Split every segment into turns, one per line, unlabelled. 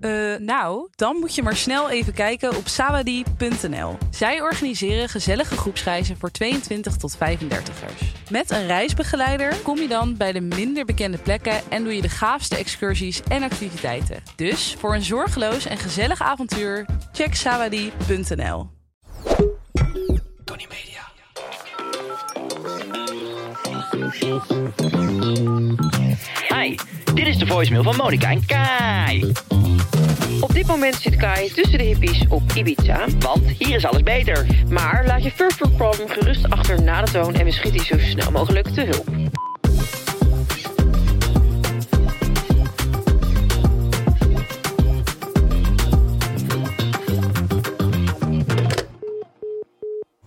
eh, nou, dan moet je maar snel even kijken op sawadie.nl. Zij organiseren gezellige groepsreizen voor 22 tot 35ers. Met een reisbegeleider kom je dan bij de minder bekende plekken en doe je de gaafste excursies en activiteiten. Dus voor een zorgeloos en gezellig avontuur, check sawadie.nl.
Tony Media.
Hi, dit is de voicemail van Monica en Kai.
Op dit moment zit Kai tussen de hippies op Ibiza.
Want hier is alles beter.
Maar laat je First World Problem gerust achter na de toon en we schieten je zo snel mogelijk te hulp.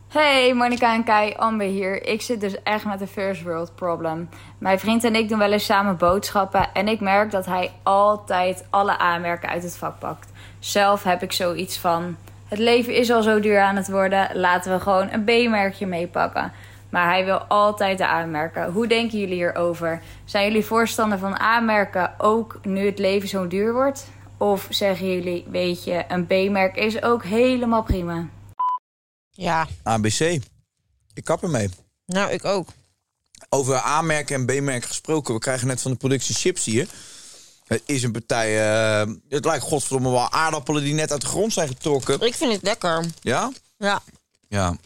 Hey, Monika en Kai, Amber hier. Ik zit dus echt met een first world problem. Mijn vriend en ik doen wel eens samen boodschappen en ik merk dat hij altijd alle aanmerken uit het vak pakt. Zelf heb ik zoiets van: het leven is al zo duur aan het worden, laten we gewoon een B-merkje meepakken. Maar hij wil altijd de aanmerken. Hoe denken jullie hierover? Zijn jullie voorstander van aanmerken ook nu het leven zo duur wordt? Of zeggen jullie: weet je, een B-merk is ook helemaal prima?
Ja,
ABC. Ik kap ermee.
nou ik ook.
Over A-merken en B-merken gesproken. We krijgen net van de productie chips hier. Het is een partij... eh, het lijkt godverdomme wel aardappelen die net uit de grond zijn getrokken.
Ik vind het lekker.
Ja?
Ja.
Ja.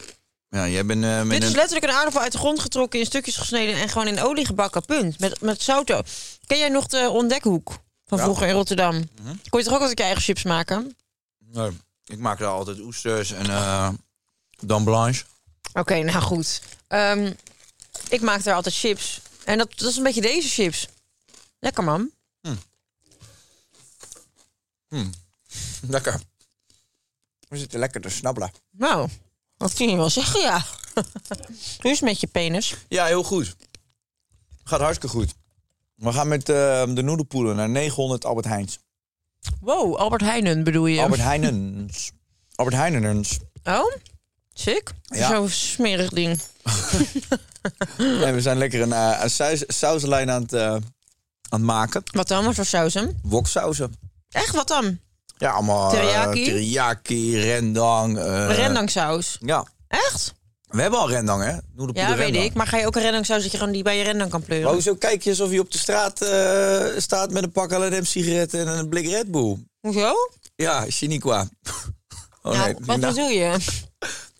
Ja, jij bent... eh, met
Dit is
een-
letterlijk een aardappel uit de grond getrokken, in stukjes gesneden en gewoon in olie gebakken. Punt. Met, met zout. ook. Ken jij nog de ontdekhoek van
Ja. Mhm.
vroeger in Rotterdam? Kon je toch ook altijd je eigen chips maken?
Nee, ik maak daar altijd oesters en eh dan blanche.
Oké, nou goed. Ehm, ik maak daar altijd chips. En dat, dat is een beetje deze chips. Lekker man.
Lekker. We zitten lekker te snabbelen.
Nou, dat kun je wel zeggen, ja. Hoe is het met je penis?
Ja, heel goed. Gaat hartstikke goed. We gaan met eh, de noedelpoelen naar 900 Albert Heijns.
Wow, Albert Heijnen bedoel je?
Albert Heijnens. Albert Heijnens.
Oh, sick.
Ja.
Zo'n smerig ding.
En we zijn lekker een, eh, een saus, sauslijn aan het, eh, aan het maken.
Wat dan? Wat voor saus hem?
Woksausen.
Echt, wat dan?
Ja, allemaal eh,
Teriyaki?
teriyaki, rendang. eh,
rendangsaus.
Ja.
Echt?
We hebben al rendang, hè? Noedelpoelen
Ja, weet
rendang.
ik. Maar ga je ook een rendangsaus dat je gewoon die bij je rendang kan pleuren?
Maar hoezo kijk je alsof je op de straat eh, staat met een pak L&M sigaretten en een blik Red Bull?
Hoezo?
Ja, Chiniqua. Oh
nou,
nee,
wat
nou,
bedoel je?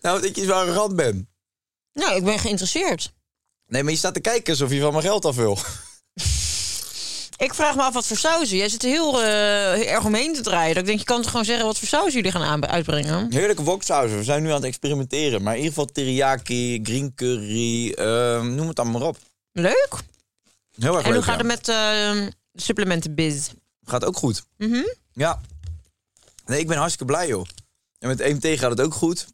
nou, dat je zo arrogant bent.
Nou, ik ben geïnteresseerd.
Nee, maar je staat te kijken alsof je van mijn geld af wil.
Ik vraag me af wat voor sausen. Jij zit er heel eh, erg omheen te draaien. Dat ik denk, je kan toch gewoon zeggen wat voor sausen jullie gaan aanb- uitbrengen?
Heerlijke woksausen. We zijn nu aan het experimenteren. Maar in ieder geval teriyaki, green curry, eh, noem het allemaal maar op.
Leuk.
Heel erg
en hoe
leuk,
gaat
ja.
het met eh, supplementen biz?
Gaat ook goed.
Mhm.
Ja. Nee, ik ben hartstikke blij, joh. En met EMT gaat het ook goed.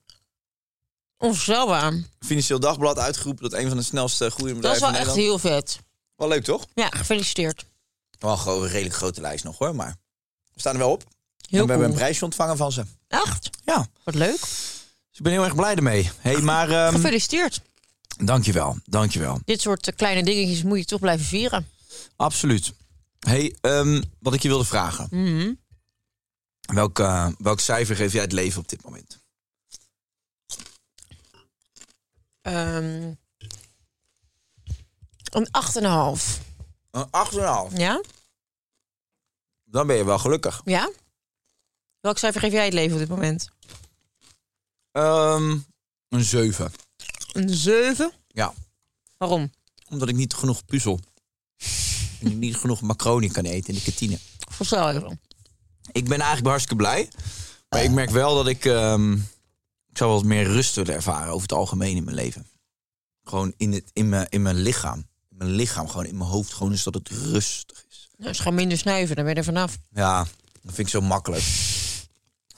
Onvoorstelbaar.
Financieel Dagblad uitgeroepen tot een van de snelste groeiende
Dat is
bedrijven
wel echt
in Nederland.
heel vet.
Wel leuk, toch?
Ja, gefeliciteerd.
Wel gewoon een redelijk grote lijst nog, hoor. Maar we staan er wel op.
Heel
en we
cool.
hebben een prijsje ontvangen van ze.
Echt?
Ja,
Wat leuk.
dus ik ben heel erg blij ermee. hey, maar ehm
Gefeliciteerd.
dankjewel, dankjewel.
Dit soort eh, kleine dingetjes moet je toch blijven vieren.
Absoluut. hey, ehm, wat ik je wilde vragen. Welk, eh, welk cijfer geef jij het leven op dit moment?
Ehm een 8,5.
Een 8,5.
Ja?
Dan ben je wel gelukkig.
Ja? Welk cijfer geef jij het leven op dit moment?
Ehm, een 7.
Een 7.
Ja,
Waarom?
omdat ik niet genoeg puzzel. niet genoeg macaroni kan eten in de kantine.
Voor zo euro.
Ik ben eigenlijk hartstikke blij. Maar ik merk wel dat ik... ehm, ik zou wel wat meer rust willen ervaren over het algemeen in mijn leven. Gewoon in, het, in, mijn, in mijn lichaam. In mijn lichaam, gewoon in mijn hoofd. Gewoon eens dat het rustig is.
Nou, is gewoon minder snuiven, dan ben je er vanaf.
Ja, dat vind ik zo makkelijk.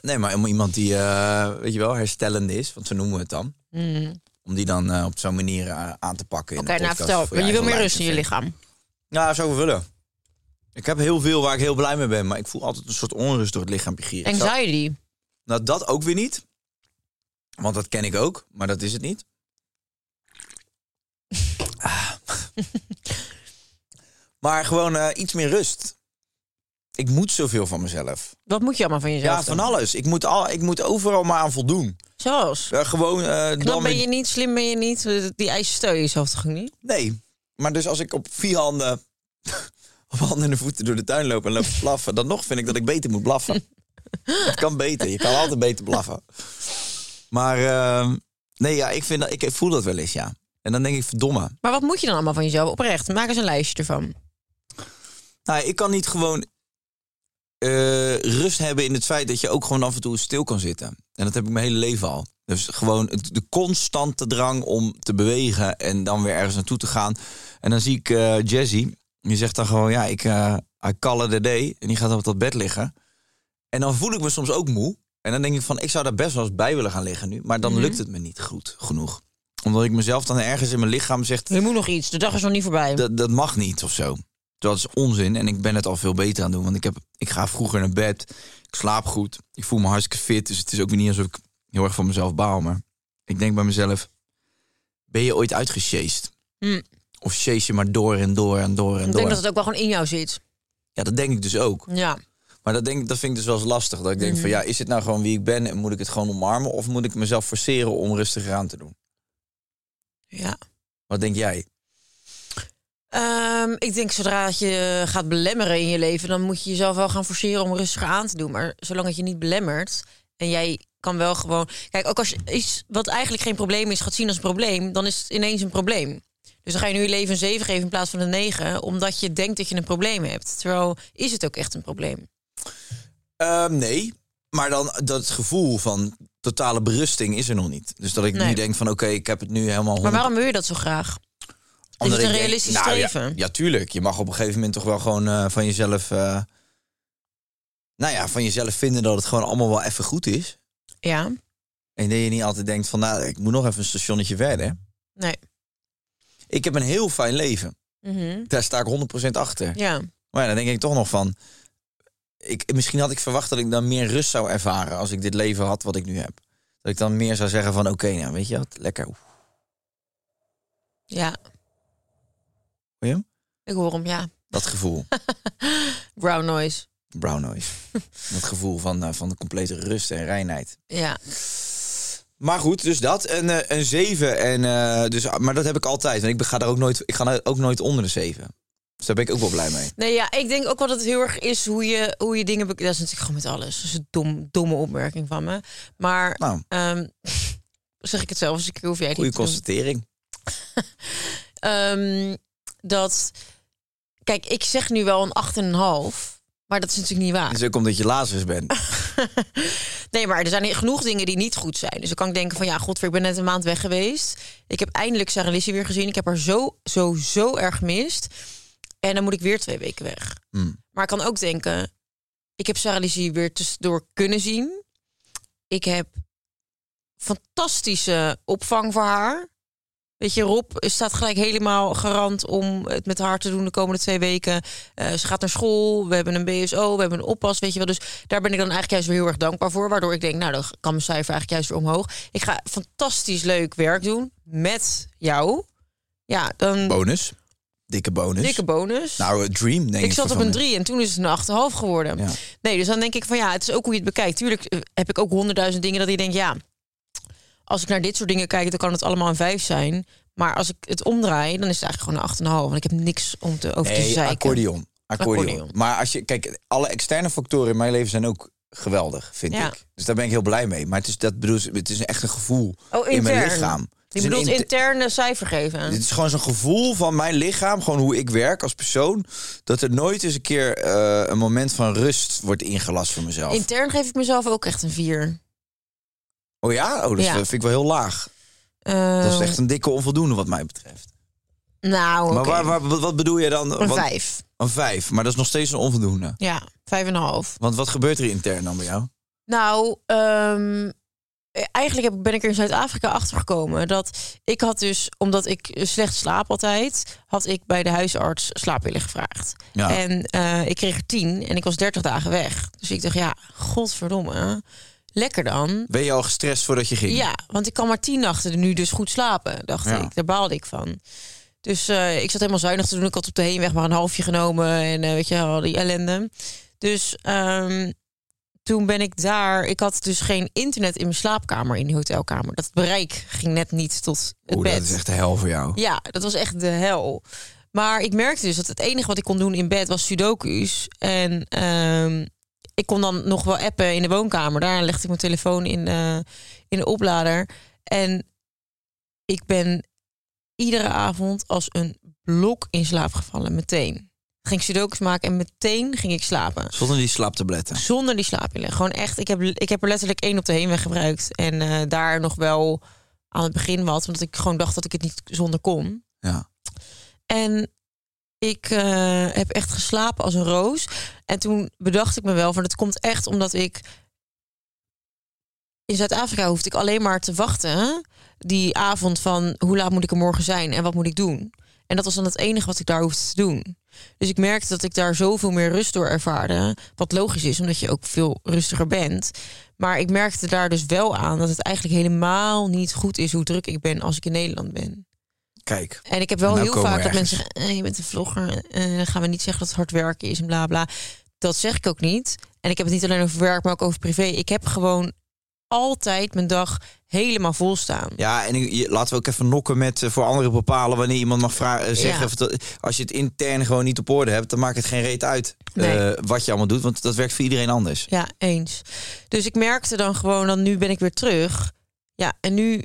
Nee, maar helemaal iemand die, eh, weet je wel, herstellend is. Want zo noemen we het dan.
nou,
Om die dan eh, op zo'n manier eh, aan te pakken. in
Oké,
de
nou
podcast
vertel.
voor
Maar je wil
eigen
meer
lijf
rust in je
en zo.
lichaam.
Ja, zou ik willen. Ik heb heel veel waar ik heel blij mee ben. Maar ik voel altijd een soort onrust door het lichaampje gieren. Ik zou-
Anxiety.
Nou, dat ook weer niet. Want dat ken ik ook, maar dat is het niet. Ah. maar gewoon eh, iets meer rust. Ik moet zoveel van mezelf.
Wat moet je allemaal van jezelf
Ja, van
doen?
alles. Ik moet, al, ik moet overal maar aan voldoen.
Zoals.
Ja, gewoon eh,
Knap
dan
ben
met-
je niet, slim ben je niet. eh, Die eisen stel je jezelf toch ook niet?
Nee, maar dus als ik op vier handen... op handen en voeten door de tuin loop en loop te blaffen... dan nog vind ik dat ik beter moet blaffen. Het kan beter. Je kan altijd beter blaffen. Maar eh, nee, ja, ik, vind dat, ik voel dat wel eens, ja. En dan denk ik, verdomme.
Maar wat moet je dan allemaal van jezelf? Oprecht, maak eens een lijstje ervan.
Nou, ik kan niet gewoon eh, rust hebben in het feit dat je ook gewoon af en toe stil kan zitten. En dat heb ik mijn hele leven al. Dus gewoon het- de constante drang om te bewegen en dan weer ergens naartoe te gaan. En dan zie ik eh, Jazzy, die zegt dan gewoon, ja, ik eh I call it a day. En die gaat dan op dat bed liggen. En dan voel ik me soms ook moe. En dan denk ik van, ik zou daar best wel eens bij willen gaan liggen nu. Maar dan lukt het me niet goed genoeg. Omdat ik mezelf dan ergens in mijn lichaam zegt,
Er moet nog iets, de dag is nog niet voorbij.
dat, dat mag niet of zo. Dat is onzin en ik ben het al veel beter aan het doen. Want ik, heb, ik ga vroeger naar bed, ik slaap goed, ik voel me hartstikke fit. Dus het is ook weer niet alsof ik heel erg van mezelf baal. Maar ik denk bij mezelf, ben je ooit uitgesjeest?
Hm.
Of chase je maar door en door en door en
ik
door?
denk dat het ook wel gewoon in jou zit.
Ja, dat denk ik dus ook.
Ja.
Maar dat, denk, ik- dat vind ik dus wel eens lastig. Dat ik denk
Hmm.
van, ja, is het nou gewoon wie ik ben en moet ik het gewoon omarmen? Of moet ik mezelf forceren om rustiger aan te doen?
ja.
Wat denk jij?
Ehm, ik denk zodra dat je gaat belemmeren in je leven, dan moet je jezelf wel gaan forceren om rustig aan te doen. Maar zolang het je niet belemmert en jij kan wel gewoon. Kijk, ook als je iets wat eigenlijk geen probleem is gaat zien als een probleem, dan is het ineens een probleem. Dus dan ga je nu je leven een 7 geven in plaats van een 9, omdat je denkt dat je een probleem hebt. Terwijl is het ook echt een probleem.
Ehm, nee, maar dan dat gevoel van totale berusting is er nog niet. Dus dat ik nu
Nee.
denk van oké, ik heb het nu helemaal...
Maar
100
waarom wil je dat zo graag? Is
Omdat
het een
ik denk,
realistisch
nou ja,
streven?
Ja, tuurlijk. Je mag op een gegeven moment toch wel gewoon eh, van jezelf... eh, nou ja, van jezelf vinden dat het gewoon allemaal wel even goed is.
ja.
En dat je niet altijd denkt van nou, ik moet nog even een stationnetje verder.
Nee.
Ik heb een heel fijn leven.
Mhm.
Daar sta ik 100% achter.
Ja.
Maar ja, dan denk ik toch nog van... Ik, misschien had ik verwacht dat ik dan meer rust zou ervaren... als ik dit leven had wat ik nu heb. Dat ik dan meer zou zeggen van... oké, nou weet je wat, lekker. Oef,
Ja.
hoor je hem?
Ik hoor hem, ja.
Dat gevoel.
Brown noise.
Brown noise. Dat gevoel van, eh, van de complete rust en reinheid.
Ja.
Maar goed, dus dat. En, eh, een 7. En, eh, dus, maar dat heb ik altijd. Want ik ga, daar ook, nooit, ik ga ook nooit onder de 7. Dus daar ben ik ook wel blij mee.
Nee, ja, ik denk ook wel dat het heel erg is hoe je, hoe je dingen... be- Dat is natuurlijk gewoon met alles. Dat is een dom, domme opmerking van me. Maar
Nou,
ehm, zeg ik het zelf eens een keer, hoef jij het
goede
niet te doen.
constatering.
Ehm, dat... Kijk, ik zeg nu wel een 8,5. Maar dat is natuurlijk niet waar.
Dat is ook omdat je Lazarus bent.
Nee, maar er zijn genoeg dingen die niet goed zijn. Dus dan kan ik denken van ja, godver, ik ben net een maand weg geweest. Ik heb eindelijk Sarah Lizzie weer gezien. Ik heb haar zo, zo, zo erg gemist. En dan moet ik weer twee weken weg.
Hmm.
Maar ik kan ook denken, ik heb Sarah Lizzie weer tussendoor kunnen zien. Ik heb fantastische opvang voor haar. Weet je, Rob staat gelijk helemaal garant om het met haar te doen de komende twee weken. Eh, ze gaat naar school, we hebben een BSO, we hebben een oppas, weet je wel. Dus daar ben ik dan eigenlijk juist weer heel erg dankbaar voor. Waardoor ik denk, nou, dan kan mijn cijfer eigenlijk juist weer omhoog. Ik ga fantastisch leuk werk doen met jou. Ja, dan
Bonus. Dikke bonus.
dikke bonus.
Nou, eh, dream denk ik.
ik zat
voor
op een
van-
3 en toen is het een 8,5 geworden.
Ja.
Nee, dus dan denk ik van ja, het is ook hoe je het bekijkt. Tuurlijk eh, heb ik ook honderdduizend dingen dat ik denk, ja, als ik naar dit soort dingen kijk, dan kan het allemaal een 5 zijn. Maar als ik het omdraai, dan is het eigenlijk gewoon een 8,5. Want ik heb niks om te, over te
Nee,
zeiken.
accordeon. accordeon.
Accordeon.
Maar als je, kijk, alle externe factoren in mijn leven zijn ook geweldig, vind
Ja.
ik. Dus daar ben ik heel blij mee. Maar het is, dat bedoel, het is echt een gevoel
Oh,
in mijn
intern.
lichaam.
Je
is een
bedoelt
inte-
interne cijfer
Dit
geven.
is gewoon zo'n gevoel van mijn lichaam, gewoon hoe ik werk als persoon, dat er nooit eens een keer eh, een moment van rust wordt ingelast voor mezelf.
Intern geef ik mezelf ook echt een 4.
oh ja? Oh, dat
Ja. Oh.
vind ik wel heel laag. Dat is echt een dikke onvoldoende wat mij betreft.
Ehm, Nou,
Maar
oké.
waar, waar- wat, wat bedoel je dan?
een
Want-
5.
Een vijf, maar dat is nog steeds een onvoldoende.
Ja, 5,5.
Want wat gebeurt er intern dan bij jou?
Nou, ehm, eh, eigenlijk heb, ben ik er in Zuid-Afrika achtergekomen. Dat ik had dus, omdat ik eh, slecht slaap altijd, had ik bij de huisarts slaappillen gevraagd.
Ja.
En eh, ik kreeg er tien en ik was 30 dagen weg. Dus ik dacht, ja, godverdomme, lekker dan.
Ben je al gestrest voordat je ging?
Ja, want ik kan maar tien nachten nu dus goed slapen, dacht
Ja.
ik. Daar baalde ik van. Dus eh, ik zat helemaal zuinig te doen. Ik had op de heenweg maar een halfje genomen en eh, weet je, al die ellende. Dus ehm, toen ben ik daar... Ik had dus geen internet in mijn slaapkamer, in die hotelkamer. Dat bereik ging net niet tot het
Oeh,
bed.
dat is echt de hel voor jou.
Ja, dat was echt de hel. Maar ik merkte dus dat het enige wat ik kon doen in bed was sudoku's. En ehm, ik kon dan nog wel appen in de woonkamer. Daarna legde ik mijn telefoon in, eh, in de oplader. En ik ben iedere avond als een blok in slaap gevallen, meteen. Ging ik sudoku's maken en meteen ging ik slapen.
Zonder die slaaptabletten.
Zonder die slaapmiddelen. Gewoon echt, ik heb, ik heb er letterlijk één op de heenweg gebruikt. En eh, daar nog wel aan het begin wat. Omdat ik gewoon dacht dat ik het niet zonder kon.
Ja.
En ik eh, heb echt geslapen als een roos. En toen bedacht ik me wel van het komt echt omdat ik. In Zuid-Afrika hoefde ik alleen maar te wachten. Die avond van hoe laat moet ik er morgen zijn en wat moet ik doen. En dat was dan het enige wat ik daar hoefde te doen. Dus ik merkte dat ik daar zoveel meer rust door ervaarde. Wat logisch is, omdat je ook veel rustiger bent. Maar ik merkte daar dus wel aan dat het eigenlijk helemaal niet goed is hoe druk ik ben als ik in Nederland ben.
Kijk.
En ik heb wel
Nou
heel
komen we
vaak dat
ergens.
mensen zeggen, eh, je bent een vlogger, eh, dan gaan we niet zeggen dat het hard werken is en bla bla. Dat zeg ik ook niet. En ik heb het niet alleen over werk, maar ook over privé. Ik heb gewoon altijd mijn dag helemaal vol staan.
Ja, en ik- je- laten we ook even nokken met eh, voor anderen bepalen wanneer iemand mag vragen, zeggen.
Ja.
of dat- als je het intern gewoon niet op orde hebt, dan maakt het geen reet uit
Nee.
eh, wat je allemaal doet. Want dat werkt voor iedereen anders.
Ja, eens. Dus ik merkte dan gewoon, dan nu ben ik weer terug. Ja, en nu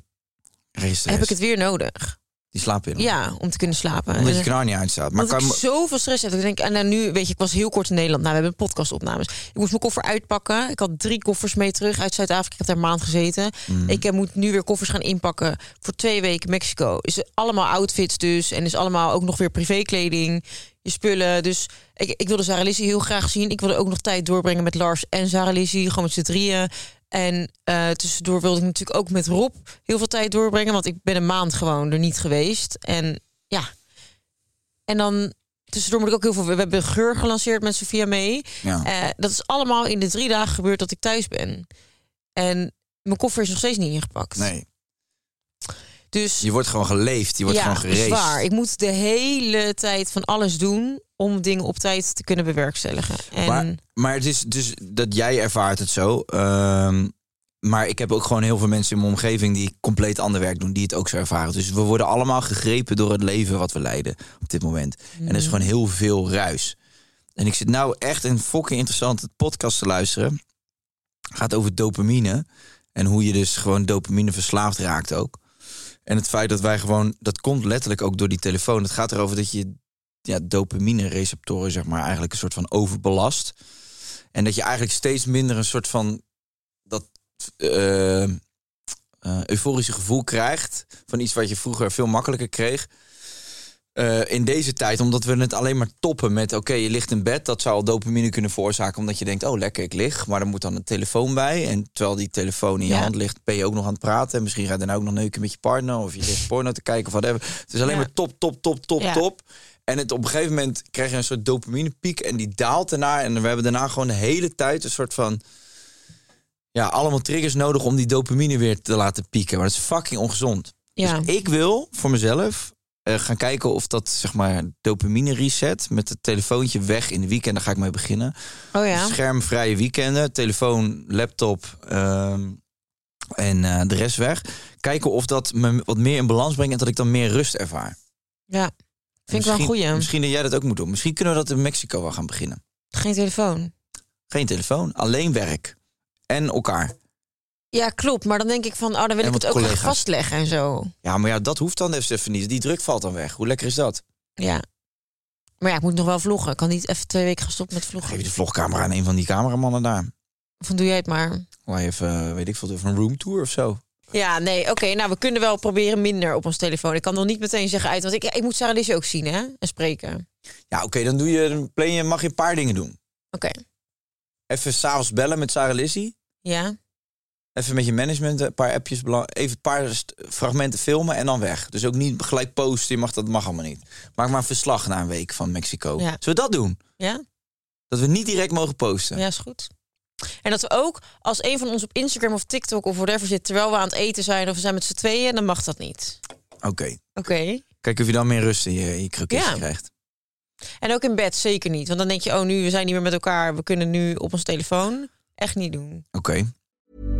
Geen stress.
heb ik het weer nodig.
Die slaap in.
Ja, om te kunnen slapen.
Omdat
En-
je knar niet uitstaat. Maar
Maar
kan,
ik zoveel stress heb. Ik denk, en dan nu, weet je, ik was heel kort in Nederland. Nou, we hebben podcastopnames. Ik moest mijn koffer uitpakken. Ik had drie koffers mee terug uit Zuid-Afrika. Ik heb daar een maand gezeten. Ik eh, moet nu weer koffers gaan inpakken voor twee weken Mexico. Is allemaal outfits dus. En is allemaal ook nog weer privékleding. Je spullen. Dus ik, ik wilde Sarah Lizzie heel graag zien. Ik wilde ook nog tijd doorbrengen met Lars en Sarah Lizzie. Gewoon met z'n drieën. En eh, tussendoor wilde ik natuurlijk ook met Rob heel veel tijd doorbrengen. Want ik ben een maand gewoon er niet geweest. En ja, en dan tussendoor moet ik ook heel veel. We hebben geur gelanceerd met Sofia mee.
Ja.
Eh, dat is allemaal in de drie dagen gebeurd dat ik thuis ben. En mijn koffer is nog steeds niet ingepakt.
nee,
Dus
je wordt gewoon geleefd. Je wordt
ja,
gewoon geraced.
is waar. Ik moet de hele tijd van alles doen om dingen op tijd te kunnen bewerkstelligen. En
Maar, maar het is dus dat jij ervaart het zo. ehm, maar ik heb ook gewoon heel veel mensen in mijn omgeving die compleet ander werk doen, die het ook zo ervaren. Dus we worden allemaal gegrepen door het leven wat we leiden op dit moment. En er is gewoon heel veel ruis. En ik zit nou echt een fucking interessante podcast te luisteren. Gaat over dopamine. En hoe je dus gewoon dopamine verslaafd raakt ook. En het feit dat wij gewoon, dat komt letterlijk ook door die telefoon. Het gaat erover dat je ja, dopamine-receptoren, zeg maar, eigenlijk een soort van overbelast. En dat je eigenlijk steeds minder een soort van dat eh, eh, euforische gevoel krijgt. Van iets wat je vroeger veel makkelijker kreeg. Eh, in deze tijd, omdat we het alleen maar toppen met: oké, je ligt in bed. Dat zou al dopamine kunnen veroorzaken. Omdat je denkt: oh, lekker, ik lig. Maar er moet dan een telefoon bij. En terwijl die telefoon in je
Ja.
hand ligt, ben je ook nog aan het praten. En misschien ga je daarna ook nog neuken met je partner. Of je ligt porno te kijken of whatever. Het is alleen
Ja.
maar top, top, top, top,
Ja.
top. En het, op een gegeven moment krijg je een soort dopaminepiek. En die daalt daarna. En we hebben daarna gewoon de hele tijd een soort van ja, allemaal triggers nodig om die dopamine weer te laten pieken. Maar dat is fucking ongezond.
ja,
Dus ik wil voor mezelf eh, gaan kijken of dat, zeg maar, dopamine reset met het telefoontje weg in de weekend. Daar ga ik mee beginnen.
oh ja.
Schermvrije weekenden, telefoon, laptop ehm, en eh, de rest weg. Kijken of dat me wat meer in balans brengt en dat ik dan meer rust ervaar.
ja. Vind ik wel een
Misschien-
goeie.
Misschien dat jij dat ook moet doen. Misschien kunnen we dat in Mexico wel gaan beginnen.
Geen telefoon.
Geen telefoon, alleen werk. En elkaar.
Ja, klopt. Maar dan denk ik van, oh, dan wil
En
ik
wat
het ook graag
collega's.
vastleggen en zo.
Ja, maar ja, dat hoeft dan dus even niet. Die druk valt dan weg. Hoe lekker is dat?
Ja. Maar ja, ik moet nog wel vloggen. Ik kan niet even twee weken gaan stoppen met
Geef
vloggen.
je de vlogcamera aan een van die cameramannen daar.
Van doe jij het maar.
Laat je even, eh, weet ik veel, even een roomtour of zo.
Ja, nee, oké. nou, we kunnen wel proberen minder op ons telefoon. Ik kan nog niet meteen zeggen uit, want ik, ik moet Sarah Lizzie ook zien hè, en spreken. Oké.
Ja, oké, dan, doe je, dan plan je, mag je een paar dingen doen. Even s'avonds bellen met Sarah Lizzie.
Ja.
Even met je management een paar appjes, belang- even een paar st- fragmenten filmen en dan weg. Dus ook niet gelijk posten, je mag, dat mag allemaal niet. Maak maar een verslag na een week van Mexico.
Ja.
Zullen we dat doen?
Ja?
Dat we niet direct mogen posten.
Ja, is goed. En dat we ook, als een van ons op Instagram of TikTok of whatever zit... terwijl we aan het eten zijn of we zijn met z'n tweeën, dan mag dat niet.
Oké,
Oké.
kijk of je dan meer rust in je, in je krukjes
Ja.
krijgt.
En ook in bed zeker niet. Want dan denk je, oh, nu we zijn niet meer met elkaar. We kunnen nu op ons telefoon. Echt niet doen.
Oké. Nou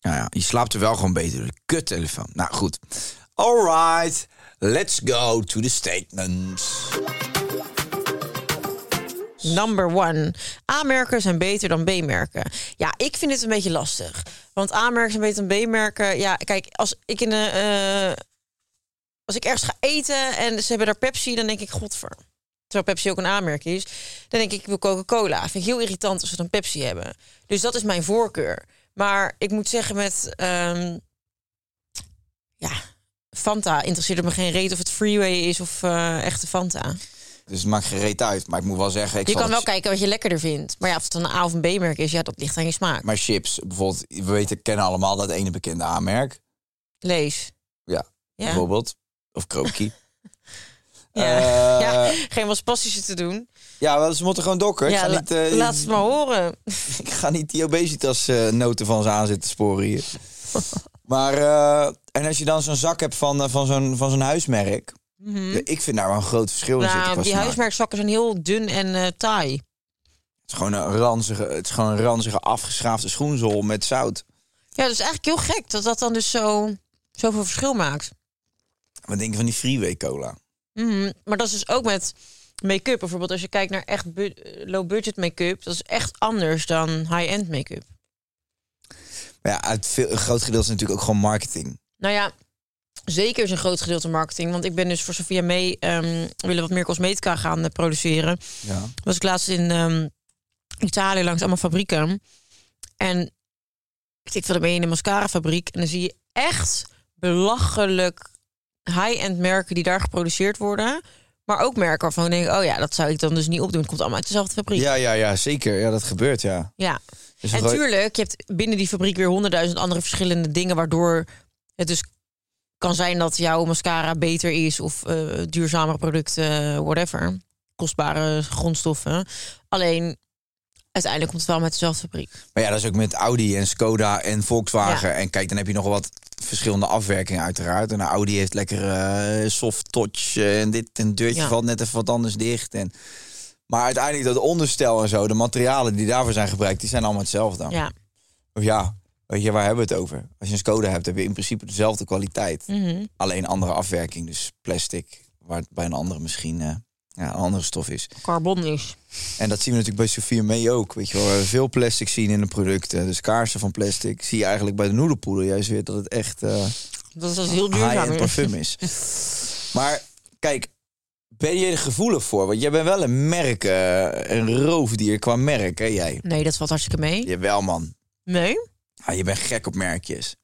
Nou ja, je slaapt er wel gewoon beter door de kuttelefoon. Nou goed. Alright, let's go to the statements.
Number one. A-merken zijn beter dan B-merken. Ja, ik vind dit een beetje lastig. Want A-merken zijn beter dan B-merken. Ja, kijk, als ik in een... eh, als ik ergens ga eten en ze hebben daar Pepsi, dan denk ik, godver. Terwijl Pepsi ook een A-merk is. Dan denk ik, ik wil Coca-Cola. Vind ik heel irritant als ze dan Pepsi hebben. Dus dat is mijn voorkeur. Maar ik moet zeggen met... ehm, ja, Fanta interesseert het me geen reet of het Freeway is of eh, echte Fanta.
Dus het maakt geen reet uit, maar ik moet wel zeggen... Ik
Je
zal
kan wel
het-
kijken wat je lekkerder vindt. Maar ja, of het dan een A of een B-merk is, ja, dat ligt aan je smaak.
Maar chips, bijvoorbeeld, we weten, kennen allemaal dat ene bekende aanmerk.
Lees.
Ja,
Ja.
bijvoorbeeld. Of krookie.
Ja.
Eh,
ja, geen was passie te doen.
Ja, wel, ze moeten gewoon dokken. ik,
Ja,
ga
la-
niet, eh,
laat ze het maar horen.
ik ga niet die obesitas eh, noten van ze aan zitten sporen hier. maar, eh, en als je dan zo'n zak hebt van, eh, van zo'n van zo'n huismerk... ja, ik vind daar wel een groot verschil in zitten.
Mhm. Nou,
qua
die
smaak.
huismerkzakken zijn heel dun en eh taai.
Het is gewoon een ranzige, het is gewoon een ranzige afgeschaafde schoenzol met zout.
Ja, dat is eigenlijk heel gek dat dat dan dus zo, zoveel verschil maakt.
Wat denk je van die freeway cola?
Mhm. Maar dat is dus ook met make-up. Bijvoorbeeld als je kijkt naar echt bu- eh, low-budget make-up... dat is echt anders dan high-end make-up.
Maar ja, uit veel, een groot gedeelte is natuurlijk ook gewoon marketing.
Nou ja, zeker is een groot gedeelte marketing. Want ik ben dus voor Sophia mee ehm willen wat meer cosmetica gaan eh, produceren.
Ja.
Was ik laatst in ehm, Italië langs allemaal fabrieken. En ik viel ermee in de mascara fabriek. En dan zie je echt belachelijk high-end merken die daar geproduceerd worden. Maar ook merken waarvan ik denk, oh ja, dat zou ik dan dus niet opdoen. Het komt allemaal uit dezelfde fabriek.
Ja, ja, ja, zeker. Ja, dat gebeurt, ja.
Ja.
Dus
En
een gro-
tuurlijk, je hebt binnen die fabriek weer honderdduizend andere verschillende dingen... waardoor het dus kan zijn dat jouw mascara beter is... of eh, duurzamere producten, whatever. Kostbare grondstoffen. Alleen, uiteindelijk komt het wel met dezelfde fabriek.
Maar ja, dat is ook met Audi en Skoda en Volkswagen.
Ja.
En kijk, dan heb je nog wel wat verschillende afwerkingen uiteraard. En nou, Audi heeft lekker eh, soft touch eh, en dit en deurtje
Ja.
valt net even wat anders dicht. En... Maar uiteindelijk dat onderstel en zo, de materialen die daarvoor zijn gebruikt, die zijn allemaal hetzelfde.
Ja.
Of ja, weet je, waar hebben we het over? Als je een Skoda hebt, heb je in principe dezelfde
Hm.
kwaliteit.
Mhm.
Alleen andere afwerking, dus plastic, waar het bij een andere misschien eh, ja, een andere stof is.
Carbon is.
En dat zien we natuurlijk bij Sophia May ook. Weet je wel, waar we veel plastic zien in de producten. Dus kaarsen van plastic. Zie je eigenlijk bij de noedelpoeder juist weer dat het echt eh
Dat is dus heel duurzaam.
high-end
hè?
parfum is. maar kijk, ben je er gevoelig voor? Want jij bent wel een merk, eh, een roofdier qua merk, hè jij?
Nee, dat valt hartstikke mee.
Jawel man.
Nee?
Ja, je bent gek op merkjes.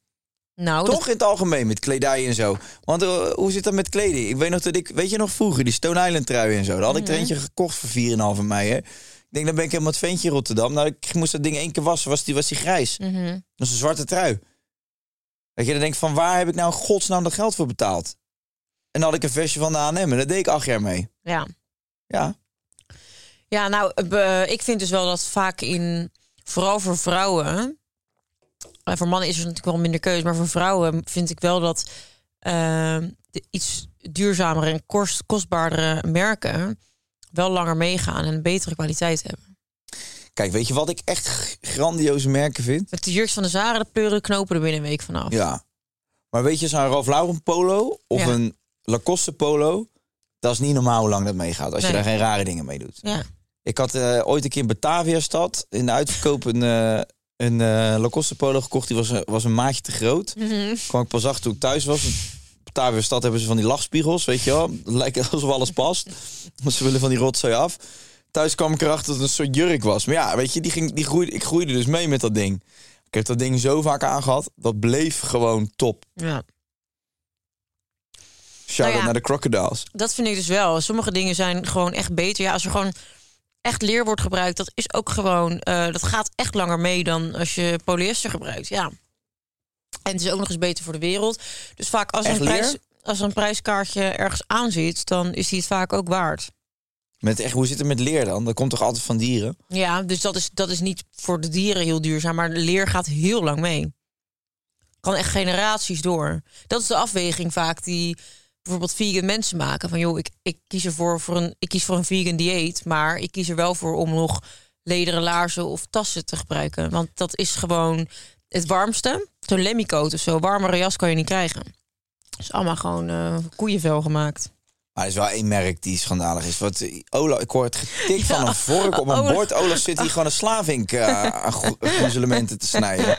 Nou,
Toch in het algemeen met kledij en zo. Want eh, hoe zit dat met kleding? Ik weet nog dat ik, weet je nog vroeger, die Stone Island trui en zo. Daar had ik er eentje gekocht voor 4,5 mei. Hè. Ik denk, dan ben ik helemaal het ventje in Rotterdam. Nou, ik moest dat ding één keer wassen, was die, was die grijs.
dat... Mhm.
Dat is een zwarte trui. Dat je dan denkt, van waar heb ik nou in godsnaam dat geld voor betaald? En dan had ik een vestje van de H&M en dat deed ik acht jaar mee.
Ja.
Ja,
Ja, nou, be- ik vind dus wel dat vaak in, vooral voor vrouwen, eh, voor mannen is er natuurlijk wel minder keuze, maar voor vrouwen vind ik wel dat eh, de iets duurzamere en kost, kostbaardere merken wel langer meegaan en een betere kwaliteit hebben.
Kijk, weet je wat ik echt g- grandioze merken vind?
Met de jurks van de Zara, de pleuren de knopen er binnen een week vanaf.
Ja. Maar weet je, zo'n Ralph Lauren polo of
Ja.
een Lacoste polo... dat is niet normaal hoe lang dat meegaat. Als je
Nee.
daar geen rare dingen mee doet.
Ja.
Ik had eh, ooit een keer in Bataviastad in de uitverkoop een, eh, een eh, Lacoste polo gekocht. Die was, een- was een maatje te groot. Kwam ik pas achter toen ik thuis was. In Bataviastad hebben ze van die lachspiegels, weet je wel. Het lijkt alsof alles past. Want ze willen van die rotzooi af. Thuis kwam ik erachter dat het een soort jurk was. Maar ja, weet je, die ging, die groeide, ik groeide dus mee met dat ding. Ik heb dat ding zo vaak aangehad. Dat bleef gewoon top.
ja.
Shout-out
Nou ja.
naar de crocodiles.
Dat vind ik dus wel. Sommige dingen zijn gewoon echt beter. Ja, als er gewoon echt leer wordt gebruikt, dat is ook gewoon. eh, dat gaat echt langer mee dan als je polyester gebruikt. Ja. En het is ook nog eens beter voor de wereld. Dus vaak als, er
Echt
een,
leer?
prijs, als er een prijskaartje ergens aan zit, dan is die het vaak ook waard.
Met echt, hoe zit het met leer dan? Dat komt toch altijd van dieren?
Ja, dus dat is, dat is niet voor de dieren heel duurzaam, maar leer gaat heel lang mee. Kan echt generaties door. Dat is de afweging vaak die bijvoorbeeld vegan mensen maken. Van joh, ik, ik, kies, ervoor voor een, ik kies voor een vegan dieet, maar ik kies er wel voor om nog lederen laarzen of tassen te gebruiken. Want dat is gewoon het warmste. Zo'n lemmycoat of zo, warmere jas kan je niet krijgen. Dat is allemaal gewoon eh, koeienvel gemaakt.
Maar er is wel één merk die schandalig is. Want eh, Ola, ik hoor het getik van een vork op een
Ola-
bord. Olaf zit hier gewoon een slavink eh, aan gro- groezelementen te snijden.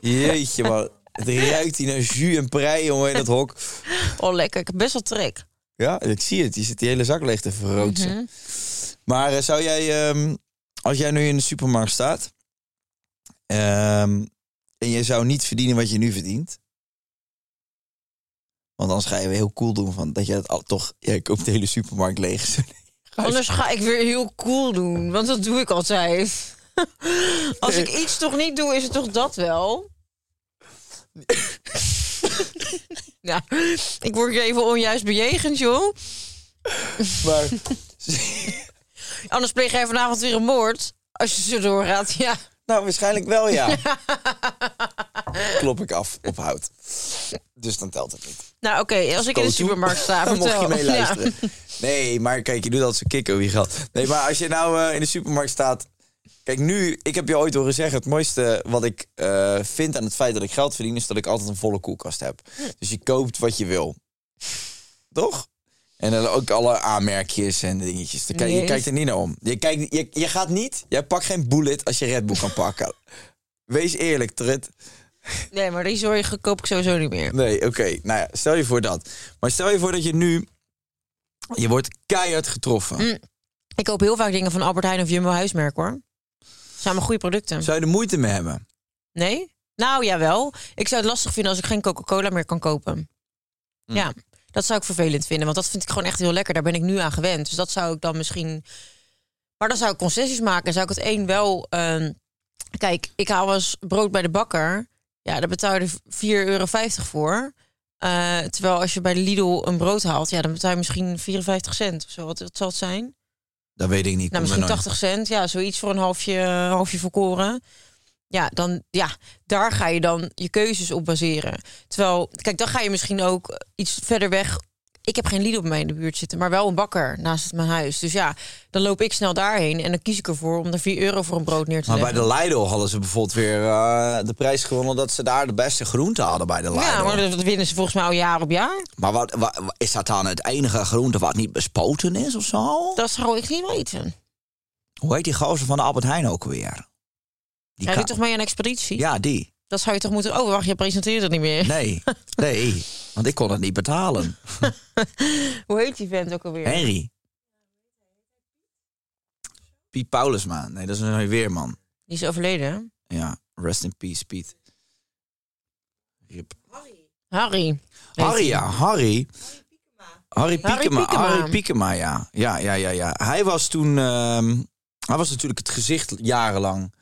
Jeetje, man. Het ruikt hier naar jus en prei, jongen, in dat hok.
Oh, lekker. Ik heb best wel trek.
Ja, ik zie het. Je zit die hele zak leeg te verroodsen. Maar eh, zou jij, ehm, als jij nu in de supermarkt staat... ehm, en je zou niet verdienen wat je nu verdient... Want anders ga je weer heel cool doen van dat je het al, toch... Ja, ik koop de hele supermarkt leeg. Zo, nee, ga je-
Anders ga ik weer heel cool doen, want dat doe ik altijd. Als ik iets toch niet doe, is het toch dat wel? ja, ik word hier even onjuist bejegend, joh.
Maar
Anders pleeg jij vanavond weer een moord. Als je zo doorgaat, ja.
nou, waarschijnlijk wel ja. Klop ik af op hout. Dus dan telt het niet.
Nou, oké, als ik in de
Koos toe.
supermarkt sta,
Dan mocht
vertel.
je mee
Ja.
luisteren. Nee, maar kijk, je doet altijd zo'n kikker wie geld. Nee, maar als je nou eh, in de supermarkt staat... Kijk, nu, ik heb je ooit horen zeggen... het mooiste wat ik eh, vind aan het feit dat ik geld verdien... is dat ik altijd een volle koelkast heb. Dus je koopt wat je wil. Toch? En dan ook alle aanmerkjes en dingetjes. Dan kijk- je
Nee.
kijkt er niet naar om. Je, kijkt, je, je gaat niet... Jij pakt geen bullet als je Red Bull kan pakken. Wees eerlijk, Trit.
Nee, maar die zorg koop ik sowieso niet meer.
Nee, oké. Nou ja, stel je voor dat. Maar stel je voor dat je nu... Je wordt keihard getroffen.
Mm. Ik koop heel vaak dingen van Albert Heijn of Jumbo Huismerk, hoor. Samen goede producten.
Zou je er moeite mee hebben?
Nee? Nou, jawel. Ik zou het lastig vinden als ik geen Coca-Cola meer kan kopen. Ja, dat zou ik vervelend vinden. Want dat vind ik gewoon echt heel lekker. Daar ben ik nu aan gewend. Dus dat zou ik dan misschien... Maar dan zou ik concessies maken. Dan zou ik het één wel... ehm, Kijk, ik haal als brood bij de bakker. Ja, daar betaal je er 4,50 euro voor. Eh, terwijl als je bij de Lidl een brood haalt... Ja, dan betaal je misschien 54 cent of zo. Wat, wat zal het zijn?
Dat weet ik niet.
Nou, misschien 80 cent, ja, zoiets voor een halfje, halfje volkoren. Ja, dan, ja, daar ga je dan je keuzes op baseren. Terwijl, kijk, dan ga je misschien ook iets verder weg. Ik heb geen Lidl bij mij in de buurt zitten, maar wel een bakker naast mijn huis. Dus ja, dan loop ik snel daarheen en dan kies ik ervoor om er 4 euro voor een brood neer te
Maar bij
leggen.
de Lidl hadden ze bijvoorbeeld weer eh, de prijs gewonnen... dat ze daar de beste groente hadden bij de Lidl.
ja, maar
maar
dat winnen ze volgens mij al jaar op jaar.
wat, wa- wa- is dat dan het enige groente wat niet bespoten is of zo?
Dat zou ik niet weten.
Hoe heet die gozer van de Albert Heijn ook weer? Die
Hij
ka-
doet toch mee aan expeditie?
Ja, die.
Dat zou je toch moeten... Oh, wacht, je presenteert het niet meer.
Nee, nee. Want ik kon het niet betalen.
Hoe heet die vent ook alweer?
Henry. Piet Paulusma. Nee, dat is een weerman.
Die is overleden, hè?
Ja, rest in peace, Piet. Rip.
Harry. heet
Harry,
die.
ja, Harry. Harry
Harry
Piekema. Harry Piekema,
Piekema.
ja. Ja, ja, ja, ja. Hij was toen... ehm, hij was natuurlijk het gezicht jarenlang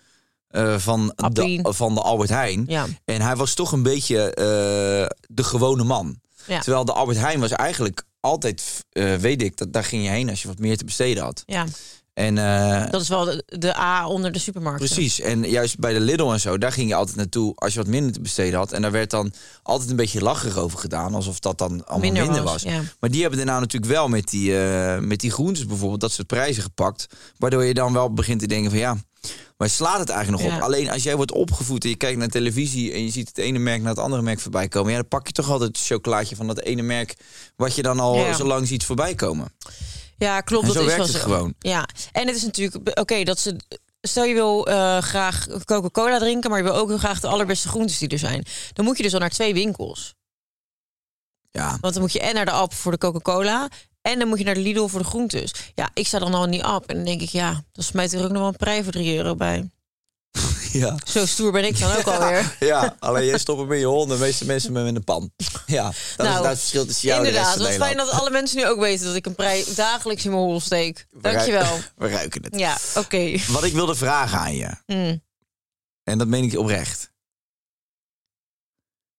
eh, van, de,
Appie.
van de Albert Heijn.
Ja.
En hij was toch een beetje eh, de gewone man.
Ja.
Terwijl de Albert Heijn was eigenlijk altijd, eh, weet ik, dat daar ging je heen als je wat meer te besteden had.
Ja,
En eh,
dat is wel de, de A onder de supermarkt.
Precies, en juist bij de Lidl en zo, daar ging je altijd naartoe als je wat minder te besteden had. En daar werd dan altijd een beetje lacherig over gedaan, alsof dat dan allemaal minder,
Minder
was.
was, ja.
Maar die hebben daarna natuurlijk wel met die, eh, met die groentes bijvoorbeeld dat soort prijzen gepakt. Waardoor je dan wel begint te denken van ja, maar slaat het eigenlijk nog
Ja.
op? Alleen als jij wordt opgevoed en je kijkt naar televisie en je ziet het ene merk naar het andere merk voorbij komen. Ja, dan pak je toch altijd het chocolaatje van dat ene merk wat je dan al
Ja.
zo lang ziet voorbij komen.
Ja, klopt.
En
dat
zo
is
werkt
wel
het
zo.
gewoon.
Ja, en het is natuurlijk oké dat ze. Stel je wil eh, graag Coca-Cola drinken, maar je wil ook heel graag de allerbeste groentes die er zijn. Dan moet je dus al naar twee winkels.
Ja,
Want dan moet je en naar de app voor de Coca-Cola. En dan moet je naar de Lidl voor de groentes. Ja, ik sta dan al in die app. En dan denk ik, ja, dan smijt er ook nog wel een prij voor 3 euro bij.
ja.
Zo stoer ben ik dan ook alweer.
Ja, alleen jij stopt hem in je honden, de meeste mensen met hem in de pan. Ja, dat is
Nou,
inderdaad het verschil tussen jou en de
Inderdaad,
rest van
wat fijn
Nederland.
dat alle mensen nu ook weten dat ik een prij dagelijks in mijn hol steek.
We ruik-
Dankjewel.
We ruiken het.
Ja, oké.
Wat ik wilde vragen aan je,
Mm.
en dat meen ik je oprecht.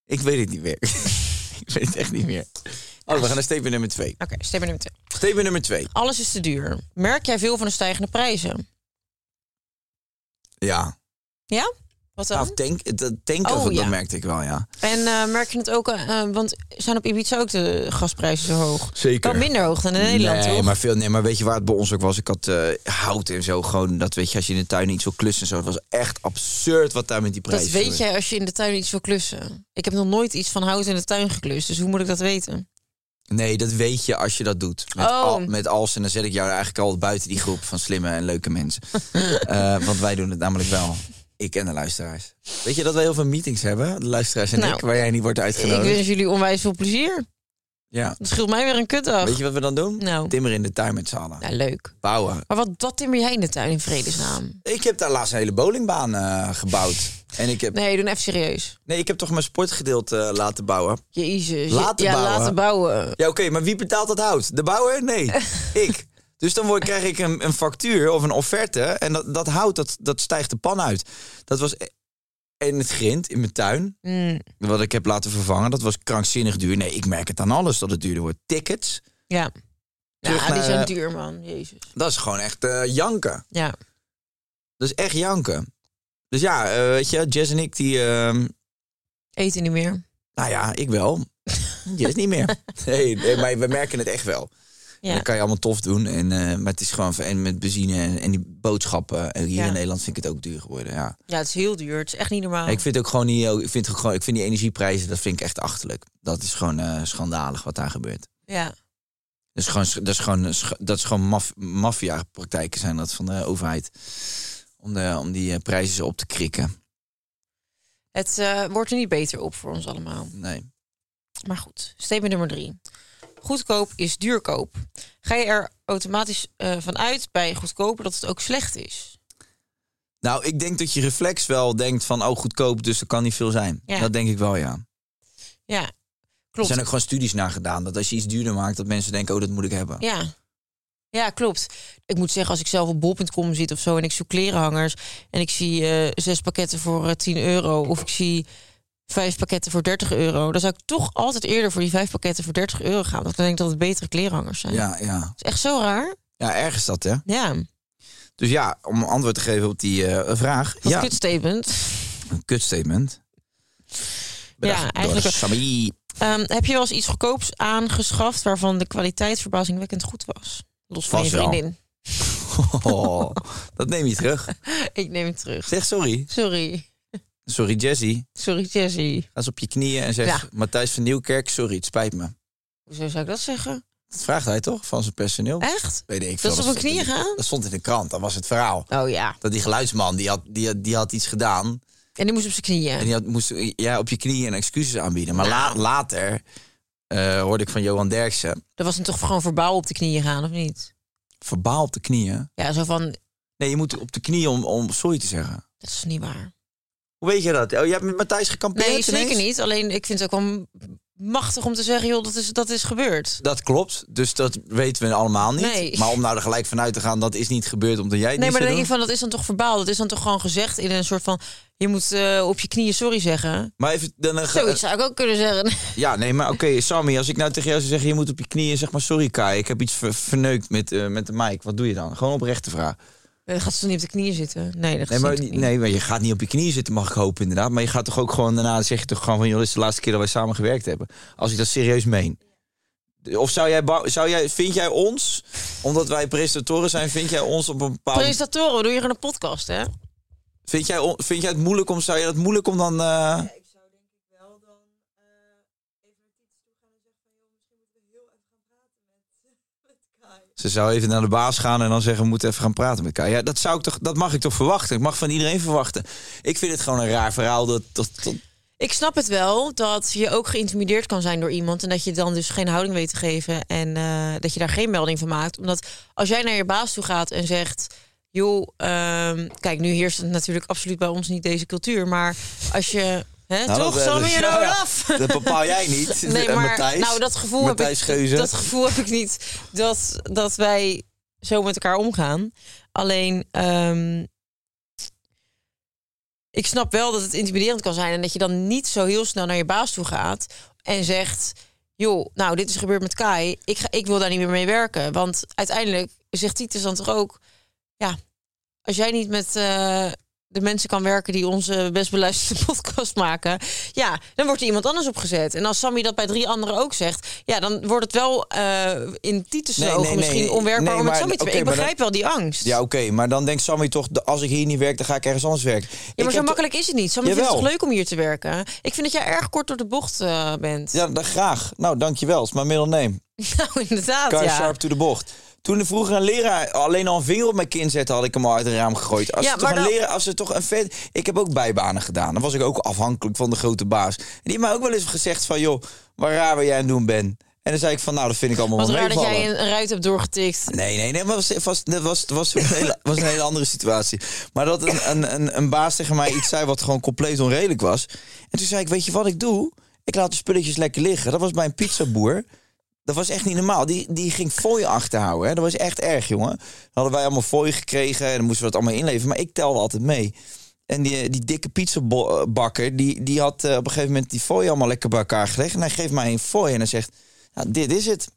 Ik weet het niet meer. ik weet het echt niet meer. Oh, we gaan naar statement nummer twee.
Oké, stem nummer twee.
Statement nummer twee.
Alles is te duur. Merk jij veel van de stijgende prijzen?
Ja.
Ja? Wat dan?
Nou, tank, dat tanken,
Oh,
dat
ja.
merkte ik wel, ja.
En eh, merk je het ook, eh, eh, want zijn op Ibiza ook de gasprijzen zo hoog?
Zeker.
Wel minder hoog dan in Nederland,
eh, nee,
toch?
Maar veel, nee, maar weet je waar het bij ons ook was? Ik had eh, hout en zo, gewoon dat weet je, als je in de tuin iets wil klussen en zo. Het was echt absurd wat daar met die
dat
prijzen
weet
gebeurt.
jij als je in de tuin iets wil klussen. Ik heb nog nooit iets van hout in de tuin geklust, dus hoe moet ik dat weten?
Nee, dat weet je als je dat doet. Met,
Oh.
al, met als, en dan zet ik jou eigenlijk al buiten die groep van slimme en leuke mensen. Eh, want wij doen het namelijk wel. Ik en de luisteraars. Weet je dat wij heel veel meetings hebben, de luisteraars en
Nou,
ik, waar jij niet wordt
Ik
uitgenodigd?
wens jullie onwijs veel plezier.
Ja.
Het scheelt mij weer een kutdag.
Weet je wat we dan doen?
Nou.
Timmer in de tuin met z'n allen.
Nou, leuk.
Bouwen.
Maar wat, wat timmer jij in de tuin in vredesnaam?
Ik heb daar laatst een hele bowlingbaan eh, gebouwd. En ik heb, nee.
Nee, doe even serieus.
ik heb toch mijn sportgedeelte eh, laten bouwen.
Jezus.
Laten
ja,
bouwen.
laten bouwen.
Ja, oké, maar wie betaalt dat hout? De bouwer? Nee, ik. Dus dan word, krijg ik een, een factuur of een offerte. En dat, dat hout, dat, dat stijgt de pan uit. Dat was e- en het grind in mijn tuin,
Mm,
wat ik heb laten vervangen, dat was krankzinnig duur. Nee, ik merk het aan alles dat het duurder wordt. Tickets,
ja.
Terug
Ja,
naar,
die zijn
eh,
duur, man. Jezus.
dat is gewoon echt eh, janken.
Ja.
Dat is echt janken. Dus ja, eh, weet je, Jess en ik, die, ehm,
Eten niet meer.
nou ja, ik wel. Jess niet meer. Nee, nee, maar we merken het echt wel.
Ja.
Dat kan je allemaal tof doen. En, eh, maar het is gewoon en met benzine en, en die boodschappen. En hier
Ja.
in Nederland vind ik het ook duur geworden. Ja.
Ja, het is heel duur. Het is echt niet normaal.
Ik vind ook gewoon niet. Ik vind, ook gewoon, ik vind die energieprijzen, dat vind ik echt achterlijk. Dat is gewoon eh, schandalig wat daar gebeurt.
Ja.
Dat is gewoon, dat is gewoon, sch- dat is gewoon maf, maffiapraktijken zijn dat van de overheid. Om, de, om die eh, prijzen zo op te krikken.
Het eh, wordt er niet beter op voor ons allemaal.
Nee.
Maar goed, statement nummer drie. Goedkoop is duurkoop. Ga je er automatisch eh van uit bij goedkoper dat het ook slecht is?
Nou, ik denk dat je reflex wel denkt van, oh goedkoop, dus er kan niet veel zijn.
Ja.
Dat denk ik wel, ja.
Ja,
Er
klopt.
zijn ook gewoon studies naar gedaan. Dat als je iets duurder maakt, dat mensen denken, oh dat moet ik hebben.
Ja. ja, klopt. Ik moet zeggen, als ik zelf op bol.com zit of zo... en ik zoek klerenhangers en ik zie eh, zes pakketten voor eh, 10 euro... of ik zie vijf pakketten voor 30 euro... dan zou ik toch altijd eerder voor die vijf pakketten voor 30 euro gaan. Want dan denk ik dat het betere klerenhangers zijn.
Ja, ja.
Het is echt zo raar.
Ja, ergens dat, hè?
Ja,
Dus ja, om antwoord te geven op die eh, vraag.
dat
ja,
kut statement.
een kutstatement.
Ja, eigenlijk wel.
Sami.
Ehm, heb je wel eens iets goedkoops aangeschaft waarvan de kwaliteit verbazingwekkend goed was? Los van
Vast
je
wel.
vriendin.
Oh, dat neem je terug.
Ik neem het terug.
Zeg sorry.
Sorry.
Sorry, Jesse.
Sorry, Jessie.
Ga eens op je knieën en zeg...
Ja.
Matthijs van Nieuwkerk, sorry, het spijt me.
Hoezo zou ik dat zeggen?
Dat vraagt hij toch van zijn personeel?
Echt?
Weet ik veel.
Dat ze
stond
op hun
in
knieën
de-
gaan?
Dat stond in de krant, dat was het verhaal.
Oh ja.
Dat die geluidsman, die had, die, had- die had iets gedaan.
En die moest op zijn
En
knieën.
die had, moest ja, op je knieën en excuses aanbieden. Maar
Nou.
la- later eh, hoorde ik van Johan Derksen...
Dat was dan toch gewoon verbaal op de knieën gaan, of niet?
Verbaal op de knieën.
Ja, zo van,
Nee, je moet op de knieën om, om sorry te zeggen.
dat is niet waar.
Hoe weet je dat? Oh, je hebt met Matthijs gekampeerd?
Nee, zeker
ineens?
niet. Alleen ik vind het ook wel machtig om te zeggen, joh, dat is, dat is gebeurd.
Dat klopt, dus dat weten we allemaal niet.
Nee.
Maar om nou er gelijk vanuit te gaan, dat is niet gebeurd omdat jij het
Nee,
niet
maar
zou
dan denk ik
doen.
van, dat is dan toch verbaal. Dat is dan toch gewoon gezegd in een soort van, je moet eh, op je knieën sorry zeggen.
Maar even, dan, eh, ga-
Zoiets zou ik ook kunnen zeggen.
Ja, nee, maar oké, Sammy, als ik nou tegen jou zou zeggen... je moet op je knieën, zeg maar, sorry Kai, ik heb iets ver- verneukt met, eh, met de mic. Wat doe je dan? Gewoon oprechte vraag.
Nee, dan gaat ze toch niet op de knieën zitten? Nee, dat
Nee
gaat ze
maar,
niet op de knieën.
nee, maar je gaat niet op je knieën zitten, mag ik hopen, inderdaad. Maar je gaat toch ook gewoon daarna zeg je toch gewoon van... joh, dit is de laatste keer dat wij samen gewerkt hebben. Als ik dat serieus meen. Of zou jij, bang- zou jij, vind jij ons, omdat wij presentatoren zijn... vind jij ons op een bepaald...
Presentatoren, we doen hier gewoon een podcast, hè?
Vind jij, on- vind jij het moeilijk om, zou jij het moeilijk om dan... eh, Ze zou even naar de baas gaan en dan zeggen: We moeten even gaan praten met elkaar. Ja, dat, zou ik toch, dat mag ik toch verwachten? Ik mag van iedereen verwachten. Ik vind het gewoon een raar verhaal. Dat, dat, dat-
Ik snap het wel dat je ook geïntimideerd kan zijn door iemand. En dat je dan dus geen houding weet te geven. En eh, dat je daar geen melding van maakt. Omdat als jij naar je baas toe gaat en zegt. joh, ehm, kijk, nu heerst het natuurlijk absoluut bij ons niet deze cultuur. Maar als je. Hè,
Nou,
toch,
dat-
Sammy
dat-
en
ja, ja.
Olaf?
dat bepaal jij niet.
Nee,
En
maar
Matthijs.
nou, dat gevoel
Matthijs
heb ik.
Geuze.
Dat gevoel heb ik niet. Dat, dat wij zo met elkaar omgaan. Alleen. ehm, ik snap wel dat het intimiderend kan zijn en dat je dan niet zo heel snel naar je baas toe gaat en zegt: joh, nou dit is gebeurd met Kai, ik, ga, ik wil daar niet meer mee werken, want uiteindelijk zegt Titus dan toch ook: ja, als jij niet met eh, de mensen kan werken die onze best beluisterde podcast maken, ja, dan wordt er iemand anders opgezet. En als Sammy dat bij drie anderen ook zegt, ja, dan wordt het wel eh, in Titus'
Nee,
ogen
nee,
misschien
nee.
onwerkbaar
Nee,
om met
maar-
Sammy te
oké,
werken. Ik
maar dan-
begrijp wel die angst.
Ja, oké, maar dan denkt Sammy toch: de- Als ik hier niet werk, dan ga ik ergens anders werken.
Ja,
Ik
maar zo
heb-
makkelijk is het niet. Sammy vindt het
Jawel.
toch leuk om hier te werken? Ik vind dat jij erg kort door de bocht eh, bent.
Ja, dan graag. Nou, dankjewel. Het is mijn middle name.
Nou, inderdaad,
Kai
ja.
Sharp to the bocht. Toen er vroeger een leraar alleen al een vinger op mijn kin zette, had ik hem al uit het raam gegooid. Als
Ja,
er toch
maar
een
dan-
leraar, als er toch een vet. Ik heb ook bijbanen gedaan. Dan was ik ook afhankelijk van de grote baas. En die heeft mij ook wel eens gezegd van joh, wat raar wat jij aan het doen bent. En dan zei ik van nou, dat vind ik allemaal
Wat
wel
raar dat
meevallen.
jij een, een ruit hebt doorgetikt.
Nee, nee, nee, maar het was, was, dat was, was, een hele, was een hele andere situatie. Maar dat een, een, een, een baas tegen mij iets zei wat gewoon compleet onredelijk was. En toen zei ik, weet je wat ik doe? Ik laat de spulletjes lekker liggen. Dat was bij een pizzaboer. Dat was echt niet normaal. Die, die ging fooi achterhouden. Hè. Dat was echt erg, jongen. Dan hadden wij allemaal fooi gekregen en dan moesten we dat allemaal inleveren. Maar ik telde altijd mee. En die, die dikke pizzabakker, die, die had eh, op een gegeven moment die fooi allemaal lekker bij elkaar gelegd. En hij geeft mij een fooi en hij zegt, nou, dit is het.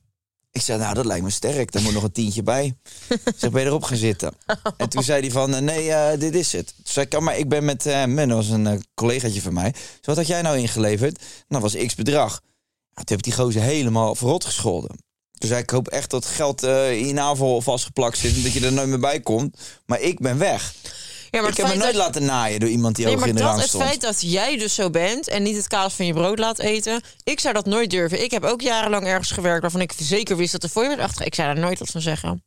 Ik zei, nou, dat lijkt me sterk. Daar moet nog een tientje bij. Ik zeg, ben je erop gaan zitten? En toen zei hij van, eh, nee, eh, dit is het. Toen zei ik, ja, maar ik ben met eh Men, dat was een eh, collegaatje van mij. Dus wat had jij nou ingeleverd? Nou, dat was x bedrag. Ja, toen heb ik die gozer helemaal verrot gescholden. Toen zei ik, ik hoop echt dat geld eh, in je navel vastgeplakt zit... en dat je er nooit meer bij komt. Maar ik ben weg.
Ja, maar
ik heb me
feit
nooit
dat-
laten naaien door iemand die
Nee,
hoog
maar
in de
dat
rang
het
stond.
feit dat jij dus zo bent en niet het kaas van je brood laat eten, ik zou dat nooit durven. Ik heb ook jarenlang ergens gewerkt waarvan ik zeker wist dat er voor je werd achter. Ik zou daar nooit wat van zeggen.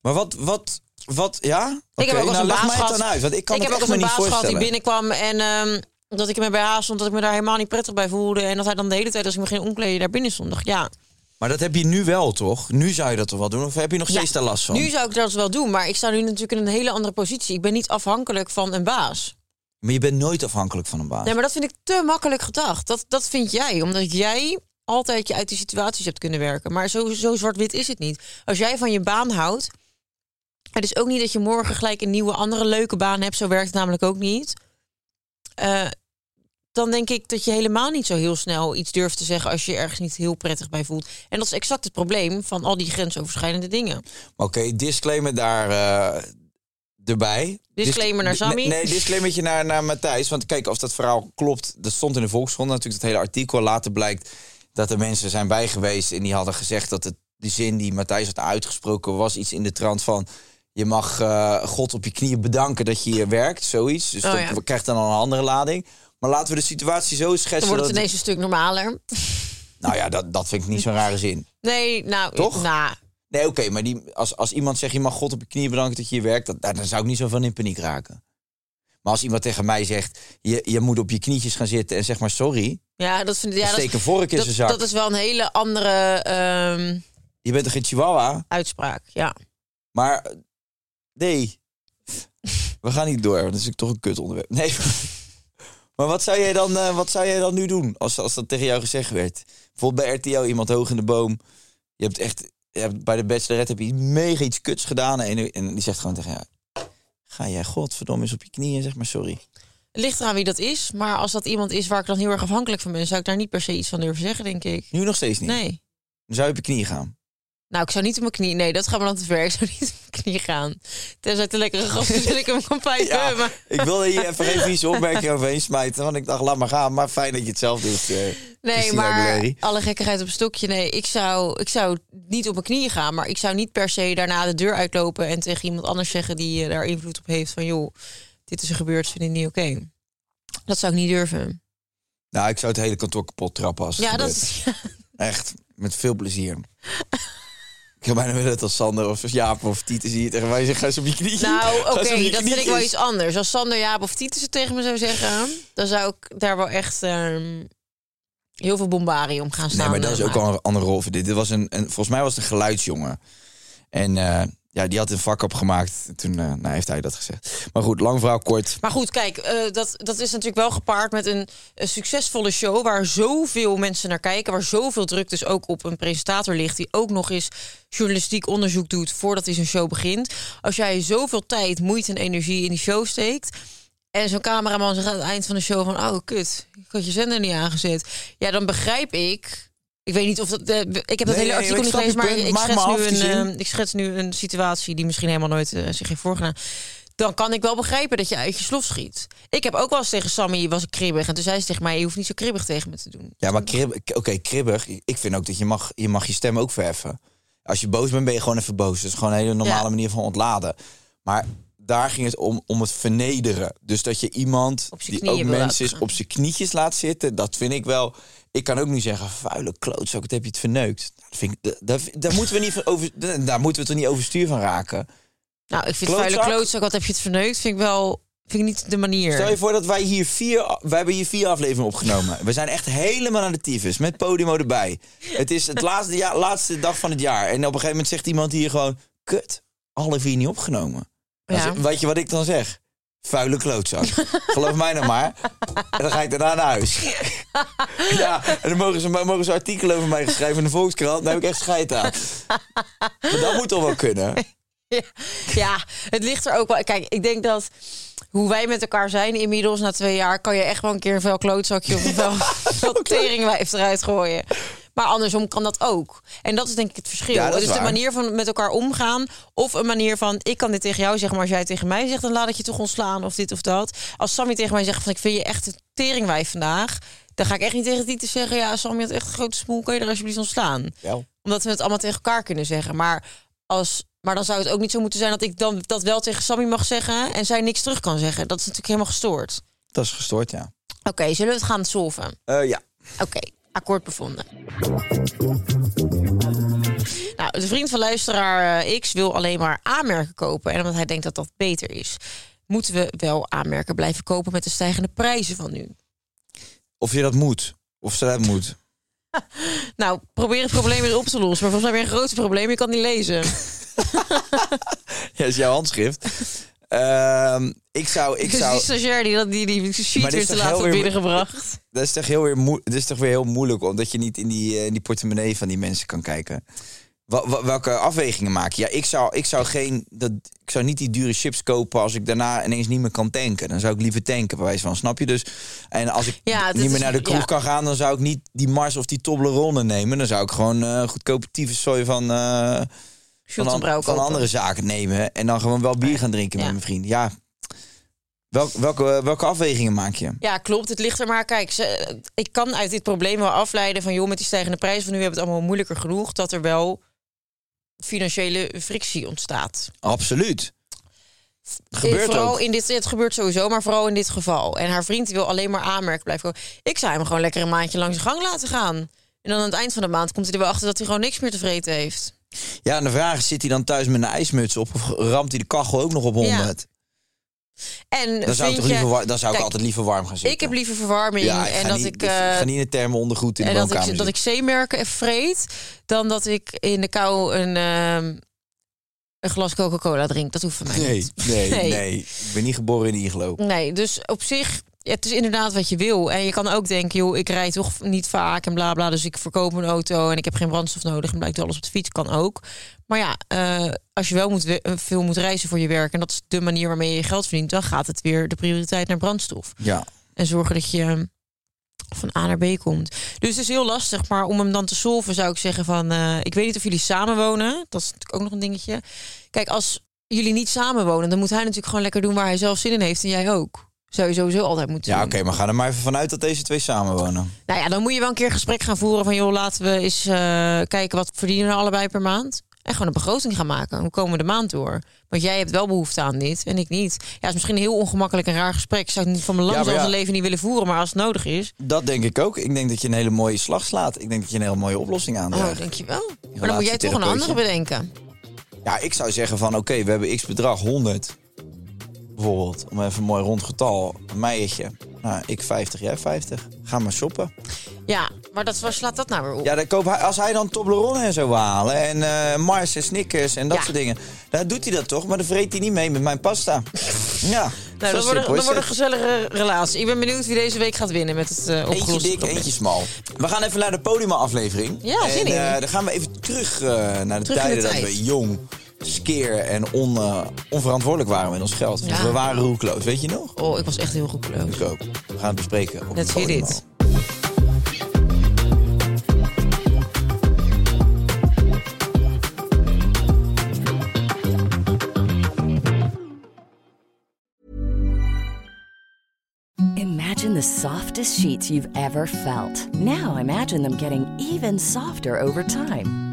Maar wat, wat, wat, ja? Oké,
ik heb ook als
nou,
een
leg
baas
mij het
gehad.
dan uit, want ik kan
ik
het
heb ook
echt
als
me
een
niet
baas gehad die
voorstellen.
binnenkwam en ehm, dat ik hem bij haar stond, dat ik me daar helemaal niet prettig bij voelde en dat hij dan de hele tijd als ik me ging omkleden daar binnen stond, dacht ik, ja.
Maar dat heb je nu wel, toch? Nu zou je dat toch wel doen? Of heb je nog
Ja,
steeds daar last van?
Nu zou ik dat wel doen, maar ik sta nu natuurlijk in een hele andere positie. Ik ben niet afhankelijk van een baas.
Maar je bent nooit afhankelijk van een baas.
Nee, maar dat vind ik te makkelijk gedacht. Dat, dat vind jij, omdat jij altijd je uit die situaties hebt kunnen werken. Maar zo, zo zwart-wit is het niet. Als jij van je baan houdt, het is ook niet dat je morgen gelijk een nieuwe, andere leuke baan hebt. Zo werkt het namelijk ook niet. Eh, dan denk ik dat je helemaal niet zo heel snel iets durft te zeggen als je je ergens niet heel prettig bij voelt. En dat is exact het probleem van al die grensoverschrijdende dingen.
Maar Oké, disclaimer daar eh, erbij.
Disclaimer naar
Dis-
Sammy.
Nee, nee, disclaimertje naar, naar Matthijs. Want kijk, als dat verhaal klopt, dat stond in de Volkskrant natuurlijk dat hele artikel. Later blijkt dat er mensen zijn bij geweest en die hadden gezegd dat het, de zin die Matthijs had uitgesproken was iets in de trant van... Je mag eh, God op je knieën bedanken dat je hier werkt, zoiets. Dus
Oh,
dat
ja.
krijgt dan al een andere lading. Maar laten we de situatie zo schetsen...
Dan wordt
dat
het ineens een stuk normaler.
Nou ja, dat, dat vind ik niet zo'n rare zin.
Nee, nou,
Toch?
nou,
Nee, oké, maar die, als, als iemand zegt... je mag God op je knieën bedanken dat je hier werkt... Dat, daar, dan zou ik niet zo van in paniek raken. Maar als iemand tegen mij zegt... je, je moet op je knietjes gaan zitten en zeg maar sorry...
ja, dat vind ik. Ja, dat-
steek een vork in
dat,
zijn zak.
dat is wel een hele andere ehm,
je bent toch geen chihuahua?
uitspraak. Ja.
Maar eh, nee, we gaan niet door. want Dat is toch een kut onderwerp. Nee, Maar wat zou jij dan, eh, wat zou jij dan nu doen als, als dat tegen jou gezegd werd? Bijvoorbeeld bij RTL, iemand hoog in de boom. Je hebt echt, je hebt, bij de bachelorette heb je mega iets kuts gedaan. En, en die zegt gewoon tegen jou, ga jij godverdomme eens op je knieën, zeg maar sorry.
Ligt eraan wie dat is. Maar als dat iemand is waar ik dan heel erg afhankelijk van ben, zou ik daar niet per se iets van durven zeggen, denk ik.
Nu nog steeds niet.
Nee.
Dan zou je op je knieën gaan.
Nou, ik zou niet op mijn knie. Nee, dat gaat me dan te ver. Ik zou niet op mijn knie gaan. Tenzij het een lekkere gast is en ik hem kan pijpen.
Ja,
maar-
ik wilde hier even geen vieze opmerking overheen smijten. Want ik dacht, laat maar gaan. Maar fijn dat je het zelf doet. eh,
Nee,
Christina
maar
Aguilera.
alle gekkigheid op een stokje. Nee, ik zou, ik zou niet op mijn knieën gaan. Maar ik zou niet per se daarna de deur uitlopen en tegen iemand anders zeggen die eh, daar invloed op heeft. Van joh, dit is er gebeurd, vind ik niet oké. Dat zou ik niet durven.
Nou, ik zou het hele kantoor kapot trappen als het
Ja, dat
gebeurt.
is. ja.
Echt, met veel plezier. ik heb bijna willen dat als Sander of Jaap of Tieten zie je tegen mij zeggen, ga eens op je knieën.
Nou,
Ga
oké,
eens op je
dat vind ik wel
knieën.
iets anders. Als Sander, Jaap of Titus het tegen me zou zeggen, dan zou ik daar wel echt ehm, heel veel bombarium gaan staan.
Nee, maar dat is
eh,
ook al een andere rol voor dit. dit was een, een, volgens mij was het een geluidsjongen. En eh, ja, die had een vak opgemaakt. Toen eh, nou, heeft hij dat gezegd. Maar goed, lang verhaal kort.
Maar goed, kijk, eh, dat, dat is natuurlijk wel gepaard met een, een succesvolle show waar zoveel mensen naar kijken, waar zoveel druk dus ook op een presentator ligt die ook nog eens journalistiek onderzoek doet voordat hij zijn show begint. Als jij zoveel tijd, moeite en energie in die show steekt en zo'n cameraman zegt aan het eind van de show van, oh kut, ik had je zender niet aangezet. Ja, dan begrijp ik. Ik weet niet of dat. eh, ik heb dat
Nee,
hele
nee,
artikel
ik
niet
snap je
gelezen, maar
punt.
ik
Maak
schets,
me
nu
af, die
een,
zin.
eh, ik schets nu een situatie die misschien helemaal nooit eh, zich heeft voorgedaan dan kan ik wel begrijpen dat je uit je slof schiet. Ik heb ook wel eens tegen Sammy, was ik kribbig. En toen zei ze tegen mij, je hoeft niet zo kribbig tegen me te doen.
Ja, maar krib, oké, kribbig. Ik vind ook dat je mag, je mag je stem ook verheffen. Als je boos bent, ben je gewoon even boos. Dat is gewoon een hele normale
Ja.
manier van ontladen. Maar daar ging het om, om het vernederen. Dus dat je iemand
Op zijn
die
knieën
ook
wil
mens
laten
is
gaan.
op zijn knietjes laat zitten. Dat vind ik wel... Ik kan ook niet zeggen, vuile klootzak, wat heb je het verneukt. Dat vind ik, dat- dat- daar, moeten we niet van over, daar moeten we toch niet overstuur van raken.
Nou, ik vind
Klootzak.
vuile klootzak, wat heb je het verneukt? Vind ik wel, vind ik niet de manier.
Stel je voor dat wij hier vier, wij hebben hier vier afleveringen opgenomen. We zijn echt helemaal aan de tyfus, met Podimo erbij. Het is het laatste, ja, laatste dag van het jaar. En op een gegeven moment zegt iemand hier gewoon... Kut, alle vier niet opgenomen. Dan
Ja.
zeg- weet je wat ik dan zeg? Vuile klootzak. Geloof mij nou maar. En dan ga ik daarna naar huis. ja, en dan mogen ze, mogen ze artikelen over mij geschreven in de Volkskrant. Daar heb ik echt scheid aan. Maar dat moet toch wel kunnen?
Ja, het ligt er ook wel. Kijk, ik denk dat hoe wij met elkaar zijn inmiddels na twee jaar, kan je echt wel een keer een vuil klootzakje of een vuil, vuil teringwijf eruit gooien. Maar andersom kan dat ook. En dat is denk ik het verschil.
Ja, dat is
het is de
waar.
manier van met elkaar omgaan. Of een manier van, ik kan dit tegen jou zeggen, maar als jij het tegen mij zegt, dan laat ik je toch ontslaan of dit of dat. Als Sammy tegen mij zegt van, ik vind je echt een teringwijf vandaag, dan ga ik echt niet tegen die te zeggen, ja Sammy je had echt een grote smoel, kan je er alsjeblieft ontslaan
Wel.
omdat we het allemaal tegen elkaar kunnen zeggen. Maar, als, maar dan zou het ook niet zo moeten zijn dat ik dan dat wel tegen Sammy mag zeggen en zij niks terug kan zeggen. Dat is natuurlijk helemaal gestoord.
Dat is gestoord, ja.
Oké, zullen we het gaan solven?
Eh, ja.
Oké, akkoord bevonden. Nou, de vriend van luisteraar eh, X wil alleen maar aanmerken kopen. En omdat hij denkt dat dat beter is, moeten we wel aanmerken blijven kopen met de stijgende prijzen van nu.
Of je dat moet. Of ze dat moet.
Nou, probeer het probleem weer op te lossen. Maar volgens mij heb je een groot probleem. Je kan het niet lezen.
Ja, is jouw handschrift. Ehm, ik zou, ik
dus
zou,
die stagiair die, dat- die, die
Maar
sheet
dit
weer
is
te
toch
laat
heel
had
weer-
binnengebracht.
dat is toch heel weer, moe- dat is toch weer heel moeilijk, omdat je niet in die, eh, in die portemonnee van die mensen kan kijken. Wa- wa- welke afwegingen maak je? Ja, ik zou, ik zou geen, dat, ik zou niet die dure chips kopen als ik daarna ineens niet meer kan tanken. Dan zou ik liever tanken, bij wijze van, snap je? Dus, en als ik
Ja, dat
niet meer
is-
naar de kroeg
ja.
kan gaan, dan zou ik niet die Mars of die Toblerone nemen. Dan zou ik gewoon eh goedkope tyfuszooi van, eh, van,
Schultz en
an-
Brouw
van
kopen.
andere zaken nemen. En dan gewoon wel bier gaan drinken
Ja.
met mijn vriend. Ja, Welk, welke, eh, welke afwegingen maak je?
Ja, klopt. Het ligt er maar. Kijk, ze- ik kan uit dit probleem wel afleiden van... joh, met die stijgende prijzen van nu hebben we het allemaal moeilijker genoeg... dat er wel financiële frictie ontstaat.
Absoluut.
Eh,
Gebeurt
vooral
ook.
In dit, het gebeurt sowieso, maar vooral in dit geval. En haar vriend wil alleen maar aanmerken blijven. komen. Ik zou hem gewoon lekker een maandje langs de gang laten gaan. En dan aan het eind van de maand komt hij er wel achter... dat hij gewoon niks meer te vreten heeft.
Ja, en de vraag is, zit hij dan thuis met een ijsmuts op... of ramt hij de kachel ook nog op 100?
En
Dan zou, ik, toch
vriendje-
liever, wa- dan zou ik
Kijk,
altijd liever warm gaan zitten.
Ik heb liever verwarming.
Ja, ik
en
ga,
dat
niet,
ik...
ik
eh,
ga niet in het thermo ondergoed in de
En dat
woonkamer
ik, dat ik
zitten.
zeemerken vreet, dan dat ik in de kou een, ehm, een glas Coca-Cola drink. Dat hoeft van mij
Nee,
niet.
nee, nee,
Nee.
Ik ben niet geboren in Iglo.
Nee, dus op zich Ja, het is inderdaad wat je wil. En je kan ook denken, joh, ik rijd toch niet vaak en bla bla. Dus ik verkoop mijn auto en ik heb geen brandstof nodig. En blijkt alles op de fiets, kan ook. Maar ja, eh, als je wel moet, we- eh, veel moet reizen voor je werk... en dat is de manier waarmee je je geld verdient... dan gaat het weer de prioriteit naar brandstof.
Ja.
En zorgen dat je eh, van A naar B komt. Dus het is heel lastig. Maar om hem dan te solven zou ik zeggen van... eh, ik weet niet of jullie samenwonen. Dat is natuurlijk ook nog een dingetje. Kijk, als jullie niet samenwonen... dan moet hij natuurlijk gewoon lekker doen waar hij zelf zin in heeft. En jij ook. Zou je sowieso altijd moeten
Ja,
doen.
oké, maar ga er maar even vanuit dat deze twee samenwonen.
Nou ja, dan moet je wel een keer een gesprek gaan voeren van... joh, laten we eens eh, kijken wat verdienen we allebei per maand. En gewoon een begroting gaan maken. Hoe komen we de maand door? Want jij hebt wel behoefte aan dit en ik niet. Ja, is misschien een heel ongemakkelijk en raar gesprek. Zou ik niet van mijn
Ja,
lam
maar
zelfs
ja.
een leven niet willen voeren, maar als het nodig is...
Dat denk ik ook. Ik denk dat je een hele mooie slag slaat. Ik denk dat je een hele mooie oplossing
Oh,
aandraagt.
dankjewel. Maar dan moet jij toch een
Relatietherapeutje.
andere bedenken.
Ja, ik zou zeggen van oké, we hebben x bedrag, 100. Bijvoorbeeld, om even een mooi rond getal, een meiertje. Nou, ik 50, jij 50. Ga maar shoppen.
Ja, maar dat, waar slaat dat nou weer op?
Ja, dan koop hij, als hij dan Toblerone en zo wil halen en eh, Mars en Snickers en dat
Ja.
soort dingen. Dan doet hij dat toch, maar dan vreet hij niet mee met mijn pasta. ja, zo
nou, dat wordt, een-
simpel
dat
is
wordt een
het.
gezellige relatie. Ik ben benieuwd wie deze week gaat winnen met het eh
Eentje
opgeloste
dik,
probleem.
eentje smal. We gaan even naar de podiumaflevering.
Ja, zin
en,
in.
eh, dan gaan we even terug eh, naar de
Terug in de
tijden
tijd.
dat we jong, skeer en on, eh, onverantwoordelijk waren met ons geld. Dus
Ja.
We waren roekloos, weet je nog?
Oh, ik was echt heel goed
Ik ook. We gaan het bespreken. Op
Let's
het
hear
podium
it.
al.
Imagine the softest sheets you've ever felt. Now imagine them getting even softer over time.